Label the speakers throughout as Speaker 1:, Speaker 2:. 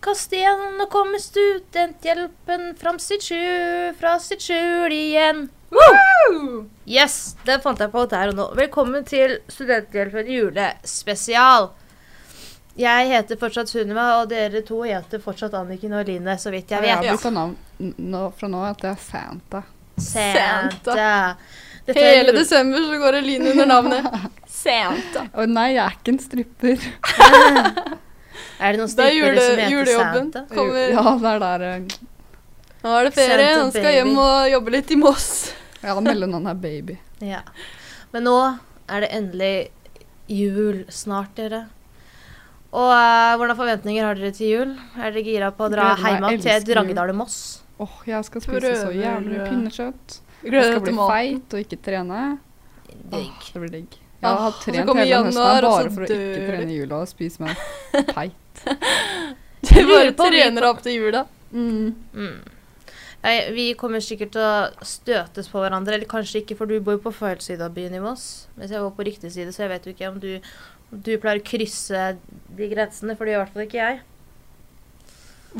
Speaker 1: kast igjen, nå kommer studenthjelpen fram sitt skjul, fra sitt skjul igjen.
Speaker 2: Woo!
Speaker 1: Yes, det fant jeg på der og nå. Velkommen til Studenthjelpen julespesial. Jeg heter fortsatt Sunniva, og dere to heter fortsatt Anniken og Line, så vidt jeg
Speaker 3: Jeg har
Speaker 1: vet.
Speaker 2: Ja.
Speaker 3: blitt sånn navn n- nå, fra nå at det er Santa.
Speaker 1: Santa. Dette er
Speaker 2: Hele
Speaker 1: jul-
Speaker 2: desember så går Eline under navnet Santa.
Speaker 3: Å nei, jeg er ikke en stripper.
Speaker 1: Er det noen
Speaker 2: Det
Speaker 1: strippere som
Speaker 2: er jule-
Speaker 1: heter
Speaker 2: julejobben.
Speaker 1: Santa?
Speaker 2: Kommer.
Speaker 3: Ja, det er der eh,
Speaker 2: Nå er det ferie,
Speaker 1: Santa
Speaker 2: han skal hjem
Speaker 1: baby.
Speaker 2: og jobbe litt i Moss.
Speaker 3: Ja, mellomnavnet er Baby.
Speaker 1: Ja. Men nå er det endelig jul snart, dere. Og eh, hvordan forventninger har dere til jul? Er dere gira på å dra
Speaker 3: Gleder meg,
Speaker 1: hjem
Speaker 3: elsker
Speaker 1: til
Speaker 3: jul.
Speaker 1: Drangedal og Moss?
Speaker 3: Åh, jeg skal spise så
Speaker 2: Prøver,
Speaker 3: jævlig mye
Speaker 2: eh,
Speaker 3: pinnekjøtt. Jeg
Speaker 2: Gleder
Speaker 3: skal
Speaker 2: deg
Speaker 3: bli
Speaker 2: til mat.
Speaker 3: feit og ikke trene. Åh,
Speaker 1: Digg.
Speaker 3: det blir digg. Jeg har hatt
Speaker 2: så
Speaker 3: trent
Speaker 2: kommer
Speaker 3: hele høsten
Speaker 2: januar,
Speaker 3: her
Speaker 2: og
Speaker 3: bare
Speaker 2: så
Speaker 3: for å
Speaker 2: dør
Speaker 3: ikke
Speaker 2: du.
Speaker 3: trene i jula og spise meg peit.
Speaker 2: Du
Speaker 1: Lurer
Speaker 2: bare
Speaker 1: på om vi-
Speaker 2: trener deg opp til jula.
Speaker 3: Mm.
Speaker 1: Mm. Jeg, vi kommer sikkert til å støtes på hverandre, eller kanskje ikke, for du bor jo på feil side av byen i Moss. Mens jeg bor på riktig side, så jeg vet jo ikke om du, om du pleier å krysse de grensene, for det gjør i hvert fall ikke jeg.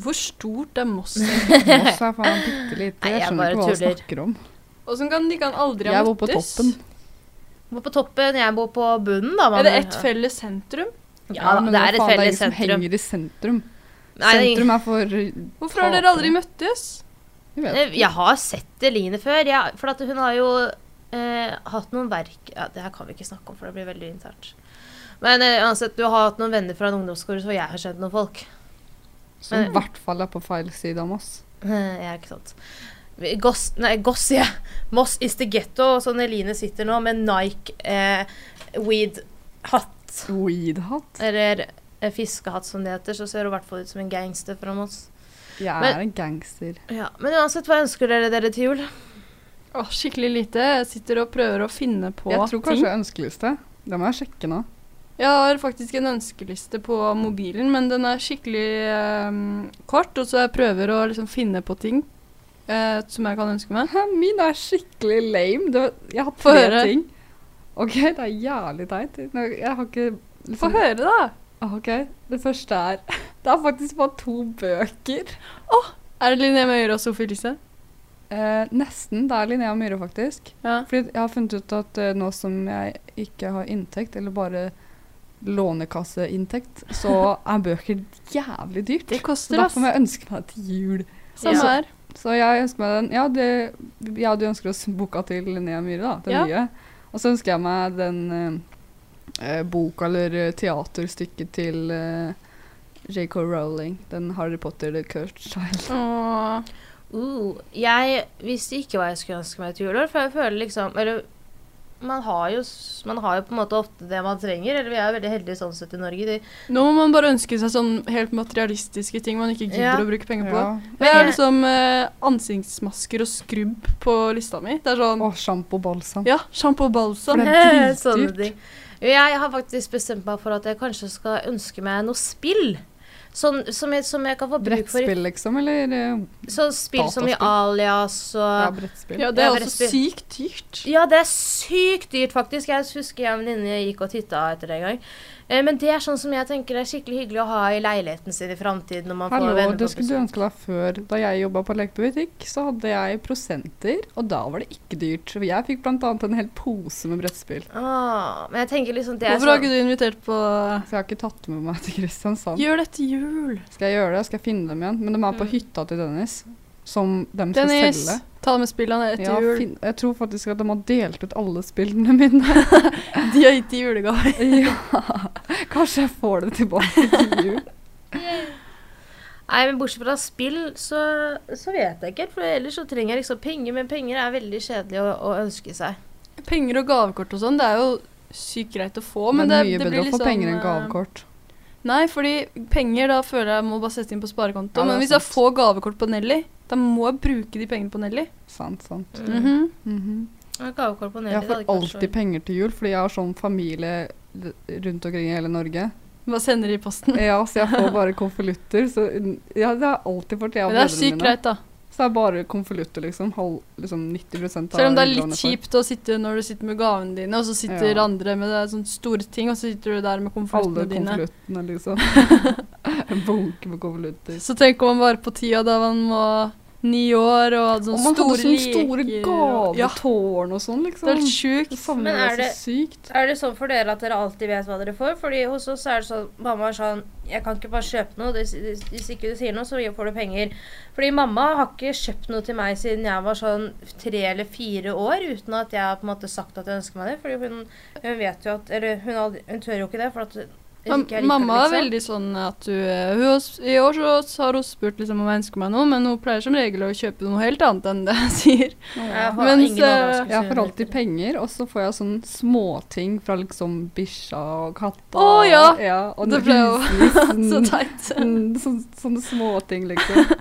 Speaker 2: Hvor stort er Moss?
Speaker 3: Moss er faen bitte lite.
Speaker 1: Nei,
Speaker 3: Jeg
Speaker 1: jeg
Speaker 3: skjønner
Speaker 1: bare
Speaker 3: ikke hva jeg
Speaker 1: tuller.
Speaker 3: snakker om.
Speaker 2: Åssen kan de kan aldri ha
Speaker 3: Jeg bor på
Speaker 2: møttes?
Speaker 3: toppen.
Speaker 1: Du bor på toppen, jeg bor på bunnen, da.
Speaker 2: Er det
Speaker 1: Manner.
Speaker 2: ett felles sentrum?
Speaker 1: Ja, da,
Speaker 3: men
Speaker 1: det
Speaker 3: hva
Speaker 1: er et
Speaker 3: faen, det
Speaker 1: felles
Speaker 3: ingen som
Speaker 1: sentrum.
Speaker 3: henger i sentrum.
Speaker 1: Nei, det er ingen-
Speaker 3: Sentrum er for
Speaker 2: Hvorfor har dere aldri møttes?
Speaker 3: Jeg vet
Speaker 1: Eh, Jeg har sett Eline før. Jeg, for at hun har jo eh, hatt noen verk ja, Det her kan vi ikke snakke om, for det blir veldig internt. Men eh, uansett, du har hatt noen venner fra en ungdomsskole, så jeg har kjent noen folk.
Speaker 3: Som i hvert fall er på feil side av Moss.
Speaker 1: Eh, ja, ikke sant. Vi- Goss, nei, Goss, sier jeg. Moss is the ghetto, og sånn Eline sitter nå med Nike eh, weed-hatt.
Speaker 3: Weedhatt.
Speaker 1: Eller eh, fiskehatt, som det heter. Så ser hun i hvert fall ut som en gangster fra Moss.
Speaker 3: Jeg er
Speaker 1: Men-
Speaker 3: en gangster.
Speaker 1: Ja, men uansett, hva ønsker dere dere til jul?
Speaker 2: Å, skikkelig lite. Jeg sitter og prøver å finne på
Speaker 3: Jeg tror
Speaker 2: ting.
Speaker 3: kanskje ønskeliste. Det må jeg sjekke nå.
Speaker 2: Jeg har faktisk en ønskeliste på mobilen, men den er skikkelig eh, kort, og så jeg prøver å liksom finne på ting eh, som jeg kan ønske meg.
Speaker 3: Hæ, Min er skikkelig lame. Det, jeg har
Speaker 2: Få
Speaker 3: tre
Speaker 2: høre.
Speaker 3: ting. OK, det er jævlig teit. Nå, Jeg har ikke
Speaker 2: Få
Speaker 3: liksom,
Speaker 2: høre, da!
Speaker 3: OK, det første er Det er faktisk bare to bøker.
Speaker 2: Er det Linnea Møyre og Sophie Elise?
Speaker 3: Eh, nesten. Det er Linnea Myhre, faktisk.
Speaker 2: Ja.
Speaker 3: Fordi jeg har funnet ut at eh, nå som jeg ikke har inntekt, eller bare lånekasseinntekt, så er bøker jævlig dyrt.
Speaker 2: Det
Speaker 3: Så
Speaker 2: koster,
Speaker 3: derfor
Speaker 2: ass.
Speaker 3: må jeg ønske meg til jul.
Speaker 2: Samme
Speaker 1: Ja.
Speaker 2: her.
Speaker 3: Så jeg ønsker meg den Ja, det, ja du ønsker oss boka til Linnea Myhre, da. Den
Speaker 2: Ja.
Speaker 3: nye. Og så ønsker jeg meg den eh, eh, boka eller eh, teaterstykket til eh, J.K. Rowling. Den Harry Potter The Cursed Child.
Speaker 2: Åh.
Speaker 1: Uh, jeg visste ikke hva jeg skulle ønske meg til jul, for jeg føler liksom Eller man har, jo, s- man har jo på en måte ofte det man trenger. Eller vi er jo veldig heldige sånn sett i Norge. De,
Speaker 2: Nå må man bare ønske seg sånn helt materialistiske ting man ikke gidder
Speaker 1: Ja.
Speaker 2: å bruke penger på.
Speaker 3: Ja.
Speaker 2: Jeg har
Speaker 1: Men-
Speaker 2: liksom eh, ansiktsmasker og skrubb på lista mi. Det er sånn
Speaker 3: Og sjampo og balsam.
Speaker 2: Ja, sjampo og balsam.
Speaker 3: For det er
Speaker 1: sånne
Speaker 3: dritdyrt.
Speaker 1: ting. Jeg har faktisk bestemt meg for at jeg kanskje skal ønske meg noe spill. Sånn, som, jeg, som jeg kan få bruk for. i-
Speaker 3: Brettspill, liksom, eller eh,
Speaker 1: Sånn spill som i
Speaker 3: Dataspill.
Speaker 1: Alias
Speaker 3: Ja,
Speaker 1: og
Speaker 3: brettspill.
Speaker 2: Ja, det er
Speaker 1: Ja,
Speaker 2: også
Speaker 1: brettspill.
Speaker 2: sykt dyrt.
Speaker 1: Ja, det er sykt dyrt, faktisk. Jeg husker jeg og en venninne gikk og titta etter det en gang. Eh, Men det er sånn som jeg tenker er skikkelig hyggelig å ha i leiligheten sin i framtiden. når man får
Speaker 3: Hallo,
Speaker 1: venner
Speaker 3: det
Speaker 1: på
Speaker 3: skulle du
Speaker 1: besøk.
Speaker 3: ønske deg før. Da jeg jobba på lekebutikk, så hadde jeg prosenter, og da var det ikke dyrt. Så Jeg fikk bl.a. en hel pose med brettspill.
Speaker 1: Ah, men jeg tenker liksom det er
Speaker 2: Hvorfor har
Speaker 1: sånn
Speaker 2: ikke du invitert på
Speaker 3: Så jeg har ikke tatt med meg til Kristiansand.
Speaker 2: Gjør det til jul.
Speaker 3: Skal jeg gjøre det? Skal jeg finne dem igjen? Men de er på
Speaker 2: Mm.
Speaker 3: hytta til Dennis, som de skal
Speaker 2: Dennis,
Speaker 3: selge.
Speaker 2: ta med spillene etter
Speaker 3: Ja,
Speaker 2: jul.
Speaker 3: fin jeg tror faktisk at de har delt ut alle spillene mine.
Speaker 2: De har gitt i julegave.
Speaker 3: ja. Kanskje jeg får det tilbake til jul.
Speaker 1: Nei, men bortsett fra spill, så, så vet jeg ikke. helt, For ellers så trenger jeg liksom penger. Men penger er veldig kjedelig å, å ønske seg.
Speaker 2: Penger og gavekort og sånn, det er jo sykt greit å få, men
Speaker 3: det
Speaker 2: det,
Speaker 3: er mye
Speaker 2: det
Speaker 3: bedre
Speaker 2: blir
Speaker 3: å få
Speaker 2: liksom
Speaker 3: penger enn
Speaker 2: eh,
Speaker 3: gavekort.
Speaker 2: Nei, fordi penger da føler jeg må bare sette inn på sparekonto.
Speaker 3: Ja, det er
Speaker 2: men hvis jeg
Speaker 3: sant.
Speaker 2: får gavekort på Nelly, da må jeg bruke de pengene på Nelly.
Speaker 3: Sant, sant.
Speaker 1: Mm.
Speaker 2: Mhm.
Speaker 3: Mhm.
Speaker 1: Og Gavekort på
Speaker 3: Jeg
Speaker 1: Nelly.
Speaker 3: får alltid penger til jul, fordi jeg har sånn familie l- rundt omkring i hele Norge.
Speaker 2: Hva sender de i posten?
Speaker 3: Ja, så jeg får bare konvolutter. Så ja, det har jeg alltid fått, jeg og
Speaker 2: Men det
Speaker 3: brødrene
Speaker 2: er sykt
Speaker 3: mine.
Speaker 2: greit, da.
Speaker 3: Så det er bare konvolutter, liksom. Halv, liksom 90 av
Speaker 2: Selv om det er litt
Speaker 3: gavene for.
Speaker 2: kjipt å sitte når du sitter med gavene dine, og så sitter
Speaker 3: Ja.
Speaker 2: andre med det, sånne store ting, og så sitter du der med
Speaker 3: Alle
Speaker 2: konvoluttene dine.
Speaker 3: konvoluttene, liksom. en bunke med konvolutter.
Speaker 2: Så tenker man bare på tida da man var ni år og hadde
Speaker 3: Og
Speaker 2: sånne
Speaker 3: man hadde
Speaker 2: store
Speaker 3: sånne
Speaker 2: leker.
Speaker 3: store
Speaker 2: og- Ja,
Speaker 3: gavetårn og sånn,
Speaker 2: det er
Speaker 3: liksom.
Speaker 2: helt sjukt.
Speaker 3: Det savner
Speaker 1: Men
Speaker 3: jeg
Speaker 1: er
Speaker 3: så sykt.
Speaker 1: Er det sånn for dere at dere alltid vet hva dere får? Fordi hos oss er det sånn Mamma er sånn Jeg kan ikke bare kjøpe noe. Hvis hvis ikke du sier noe, så får du penger. Fordi mamma har ikke kjøpt noe til meg siden jeg var sånn tre eller fire år, uten at jeg har på en måte sagt at jeg ønsker meg det. Fordi hun, hun vet jo at Eller hun, aldri, hun tør jo ikke det. For at jeg
Speaker 2: Mam-
Speaker 1: ikke liker det,
Speaker 2: Mamma er
Speaker 1: liksom.
Speaker 2: veldig sånn at du eh, hun, har s- I år så har hun spurt liksom, om jeg ønsker meg noe, men hun pleier som regel å kjøpe noe helt annet enn det jeg sier.
Speaker 1: Jeg har
Speaker 2: Mens,
Speaker 1: ingen
Speaker 2: eh,
Speaker 1: overraskelse
Speaker 3: Jeg får
Speaker 1: under.
Speaker 3: alltid penger, og så får jeg sånne småting fra liksom bikkja og katta.
Speaker 2: Å, ja.
Speaker 3: og
Speaker 2: Det ble jo Så
Speaker 3: husnissen.
Speaker 2: teit.
Speaker 3: Mm, sånne, sånne småting, liksom.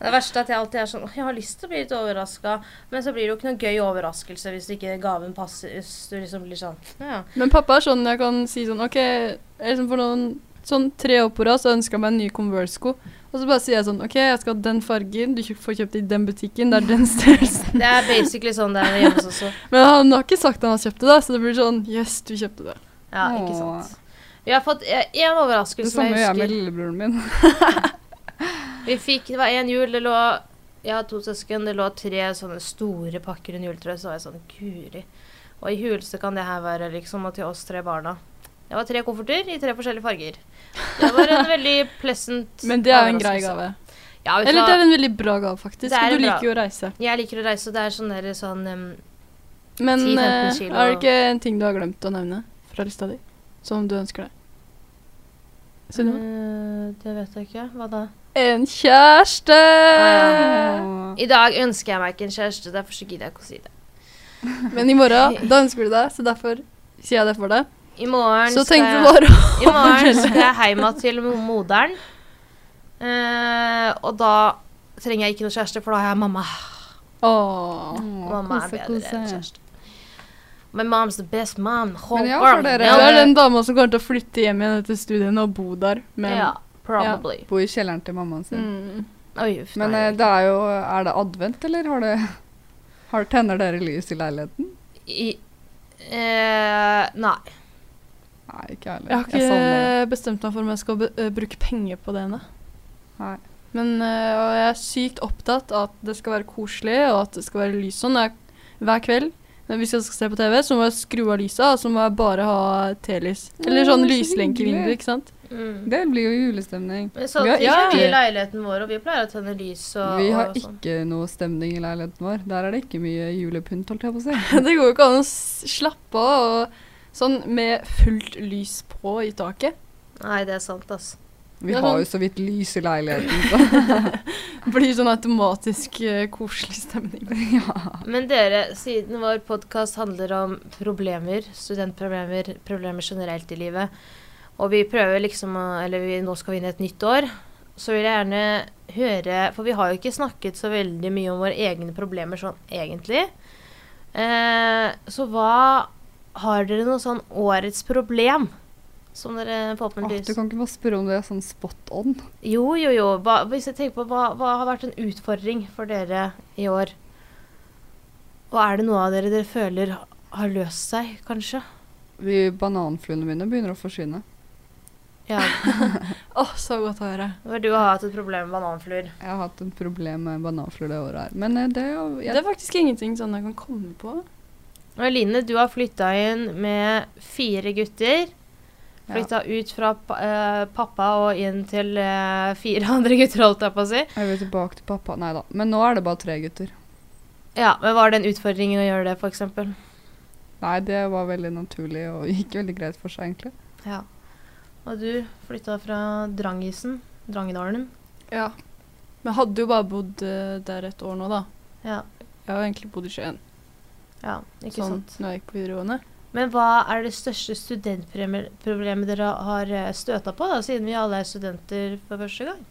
Speaker 1: Det verste er at jeg alltid er sånn «Åh, Jeg har lyst til å bli litt overraska, men så blir det jo ikke noe gøy overraskelse hvis ikke gaven passer. Hvis du liksom blir sånn Ja.
Speaker 2: Men pappa er sånn jeg kan si sånn OK, jeg liksom for noen sånn tre år på rad så ønsker jeg meg nye Converse-sko. Og så bare sier jeg sånn OK, jeg skal ha den fargen, du kjø- får kjøpt i den butikken, det er den størrelsen.
Speaker 1: Det er basically sånn det er hjemme hos oss også.
Speaker 2: Men han har ikke sagt at han har kjøpt det, da, så det blir sånn Yes, du kjøpte det.
Speaker 1: Ja, ikke
Speaker 3: Åh.
Speaker 1: sant. Vi har fått eh, én overraskelse.
Speaker 3: Det samme
Speaker 1: jeg
Speaker 3: gjør jeg
Speaker 1: husker.
Speaker 3: med lillebroren min.
Speaker 1: Vi fikk, Det var én jul, det lå Jeg har to søsken, det lå tre sånne store pakker under juletreet. Så var jeg sånn Guri. Og i huleste kan det her være, liksom, og til oss tre barna. Det var tre kofferter i tre forskjellige farger. Det var en veldig pleasant
Speaker 2: Men det er jo en grei
Speaker 1: overraskelse.
Speaker 2: gave.
Speaker 1: Ja, vet du
Speaker 2: Eller
Speaker 1: hva?
Speaker 2: det er en veldig bra gave, faktisk.
Speaker 1: Det er en
Speaker 2: Og du
Speaker 1: bra-
Speaker 2: liker jo å reise.
Speaker 1: Jeg liker å reise, og det er sånn der sånn em,
Speaker 2: Men
Speaker 1: 10-15
Speaker 2: eh,
Speaker 1: kilo.
Speaker 2: er det ikke en ting du har glemt å nevne fra lista di? Som du ønsker deg? Sunniva?
Speaker 1: eh, Det vet jeg ikke. Hva da?
Speaker 2: En kjæreste! Eh,
Speaker 1: Ah. I dag ønsker jeg meg ikke en kjæreste, derfor så gidder jeg ikke å si det.
Speaker 2: Men i morgen, da ønsker du deg, så derfor sier jeg det for deg.
Speaker 1: I morgen
Speaker 2: Så
Speaker 1: skal
Speaker 2: tenkte
Speaker 1: jeg-
Speaker 2: du bare
Speaker 1: I morgen skal jeg heima til mo- moderen. Eh, og da trenger jeg ikke noe kjæreste, for da har jeg mamma.
Speaker 2: Åh.
Speaker 1: mamma er bedre enn kjæreste. My mom's the best mom. in the whole
Speaker 3: Men ja, for
Speaker 1: world.
Speaker 3: dere-
Speaker 2: Det
Speaker 1: Ja,
Speaker 2: er den dama som kommer til å flytte hjem igjen etter studiene og bo der. Men
Speaker 1: ja, probably.
Speaker 3: Bor i kjelleren til mammaen sin.
Speaker 2: mm.
Speaker 1: Oi, uff,
Speaker 3: Men
Speaker 1: nei.
Speaker 3: eh, det er jo Er det advent, eller har det har tenner dere lys i leiligheten?
Speaker 1: I, eh, nei.
Speaker 3: Nei, ikke jeg
Speaker 2: Jeg har
Speaker 3: heller. Jeg savner det.
Speaker 2: ikke bestemt meg for om jeg skal be- øh, bruke penger på det ennå.
Speaker 3: Nei.
Speaker 2: Men øh, og jeg er sykt opptatt av at det skal være koselig, og at det skal være lys sånn. Jeg, hver kveld når hvis jeg skal se på TV, så må jeg skru av lyset, og så må jeg bare ha telys. Eller sånn
Speaker 3: Åh, så
Speaker 2: lyslenkevindu,
Speaker 3: hyggelig.
Speaker 2: ikke sant.
Speaker 1: Mm.
Speaker 3: Det blir jo julestemning.
Speaker 1: Men sånn
Speaker 3: Vi har-
Speaker 1: ting
Speaker 2: ja.
Speaker 1: har vi i leiligheten vår, og vi pleier å tenne lys og,
Speaker 3: Vi har
Speaker 1: og sånn.
Speaker 3: ikke noe stemning i leiligheten vår. Der er det ikke mye julepynt, holdt jeg på å si.
Speaker 2: Det går jo ikke an å s- slappe av og sånn med fullt lys på i taket.
Speaker 1: Nei, det er sant, altså.
Speaker 3: Vi
Speaker 2: Det er
Speaker 3: har jo så
Speaker 2: sånn-
Speaker 3: vidt lys i leiligheten, så
Speaker 2: Blir sånn automatisk øh, koselig stemning.
Speaker 1: Men dere, siden vår podkast handler om problemer, studentproblemer, problemer generelt i livet, og vi prøver liksom å Eller vi, nå skal vi inn i et nytt år, så vil jeg gjerne høre For vi har jo ikke snakket så veldig mye om våre egne problemer sånn egentlig. Eh, så hva Har dere noe sånn årets problem som dere
Speaker 3: Åh, du
Speaker 1: forhåpentligvis
Speaker 3: kan ikke bare spørre om det er sånn spot on.
Speaker 1: Jo, jo, jo. Hva, hvis jeg tenker på hva, hva har vært en utfordring for dere i år? Og er det noe av dere dere føler har løst seg, kanskje?
Speaker 3: Vi Bananfluene mine begynner å forsvinne.
Speaker 1: Ja.
Speaker 2: Åh, så godt å høre.
Speaker 1: Hvor du har hatt et problem med bananfluer.
Speaker 3: Jeg har hatt et problem med bananfluer det året her. Men eh, det er jo
Speaker 2: Det
Speaker 3: jeg,
Speaker 2: er faktisk ingenting sånn jeg kan komme på.
Speaker 1: Og Eline, du har flytta inn med fire gutter.
Speaker 3: Ja.
Speaker 1: Flytta ut fra pa eh, pappa og inn til eh, fire andre gutter, holdt jeg på å si.
Speaker 3: jeg vil tilbake til pappa. Nei da. Men nå er det bare tre gutter.
Speaker 1: Ja, men Var det en utfordring å gjøre det, f.eks.?
Speaker 3: Nei, det var veldig naturlig og gikk veldig greit for seg, egentlig.
Speaker 1: Ja. Og du flytta fra Drangisen, Drangedalen.
Speaker 2: Ja. Men jeg hadde jo bare bodd eh, der et år nå, da.
Speaker 1: Ja.
Speaker 2: Jeg har jo egentlig bodd i Skien
Speaker 1: ja ikke
Speaker 2: sånn,
Speaker 1: sant.
Speaker 2: når jeg gikk på videregående.
Speaker 1: Men hva er det største studentproblemet dere har støta på, da, siden vi alle er studenter for første gang?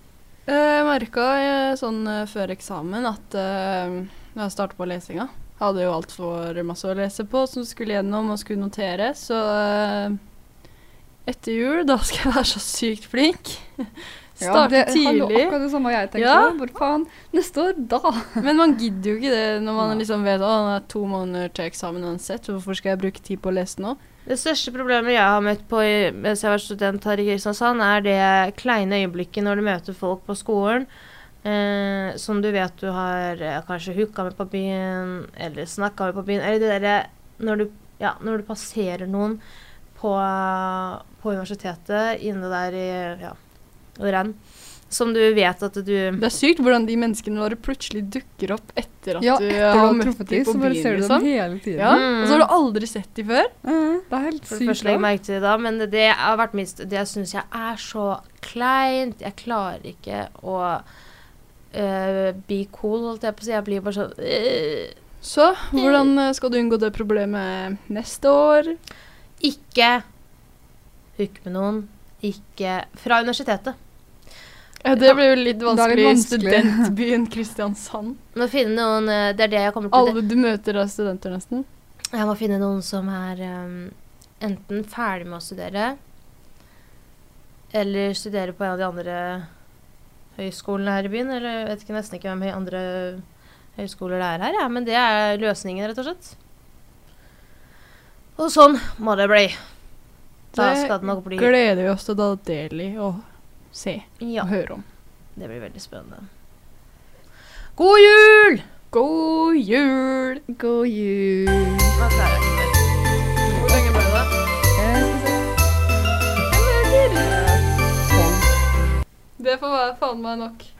Speaker 2: Eh, Jeg merka eh, sånn eh, før eksamen at eh, når jeg starta på lesinga Jeg hadde jo altfor masse å lese på som skulle gjennom og skulle notere, så eh, etter jul, da skal jeg være så sykt flink. Starte
Speaker 3: det, Hallo,
Speaker 2: tidlig.
Speaker 3: akkurat det samme jeg tenkte.
Speaker 2: Ja.
Speaker 3: Hvor faen? Neste år, da?
Speaker 2: Men man gidder jo ikke det når man
Speaker 3: Nei.
Speaker 2: liksom vet at det er to måneder til eksamen uansett. Hvorfor skal jeg bruke tid på å lese nå?
Speaker 1: Det største problemet jeg har møtt på i- mens jeg har vært student her i Kristiansand, er det kleine øyeblikket når du møter folk på skolen eh, som du vet du har eh, kanskje hooka med på byen, eller snakka med på byen, eller det derre når, du- ja, når du passerer noen på, på universitetet inne der i ja, renn, som du vet at du
Speaker 2: Det er sykt hvordan de menneskene våre plutselig dukker opp etter at
Speaker 3: Ja,
Speaker 2: du
Speaker 3: etter du
Speaker 2: har
Speaker 3: har
Speaker 2: møtt
Speaker 3: truffet
Speaker 2: dem
Speaker 3: dem,
Speaker 2: på
Speaker 3: så bare
Speaker 2: byen.
Speaker 3: ser du dem
Speaker 2: liksom.
Speaker 3: hele tiden.
Speaker 2: Ja,
Speaker 1: Mm.
Speaker 2: Og så har du aldri sett dem før.
Speaker 3: Eh, Det er helt
Speaker 1: For det
Speaker 3: sykt.
Speaker 1: første legger jeg
Speaker 3: bra.
Speaker 1: merke til det da, men det har vært minst, det jeg syns jeg er så kleint. Jeg klarer ikke å øh, be cool, holdt jeg på å si. Jeg blir bare sånn øh.
Speaker 2: Så
Speaker 3: Mm.
Speaker 2: hvordan eh, skal du unngå det problemet neste år?
Speaker 1: Ikke hooke med noen. Ikke fra universitetet.
Speaker 2: Ja, det blir jo litt
Speaker 3: er litt
Speaker 2: vanskelig i
Speaker 3: vanskelig.
Speaker 2: studentbyen Kristiansand.
Speaker 1: Må finne noen øh, Det er det jeg kommer til.
Speaker 2: Alle du møter er studenter, nesten.
Speaker 1: Jeg må finne noen som er øhm, enten ferdig med å studere, eller studere på en av de andre høyskolene her i byen. Eller jeg vet ikke, nesten ikke hvem høy- andre høyskoler det er her, ja, men det er løsningen, rett og slett. Og sånn må det bli. Da
Speaker 2: Det
Speaker 1: skal det nok bli
Speaker 2: Gleder vi oss til å ta del i og se
Speaker 1: Ja,
Speaker 2: og høre om.
Speaker 1: det blir veldig spennende. God jul!
Speaker 2: God jul!
Speaker 3: God jul.
Speaker 1: Hvor lenge ble det, da?
Speaker 3: Jeg skal se.
Speaker 2: Det får være faen meg nok.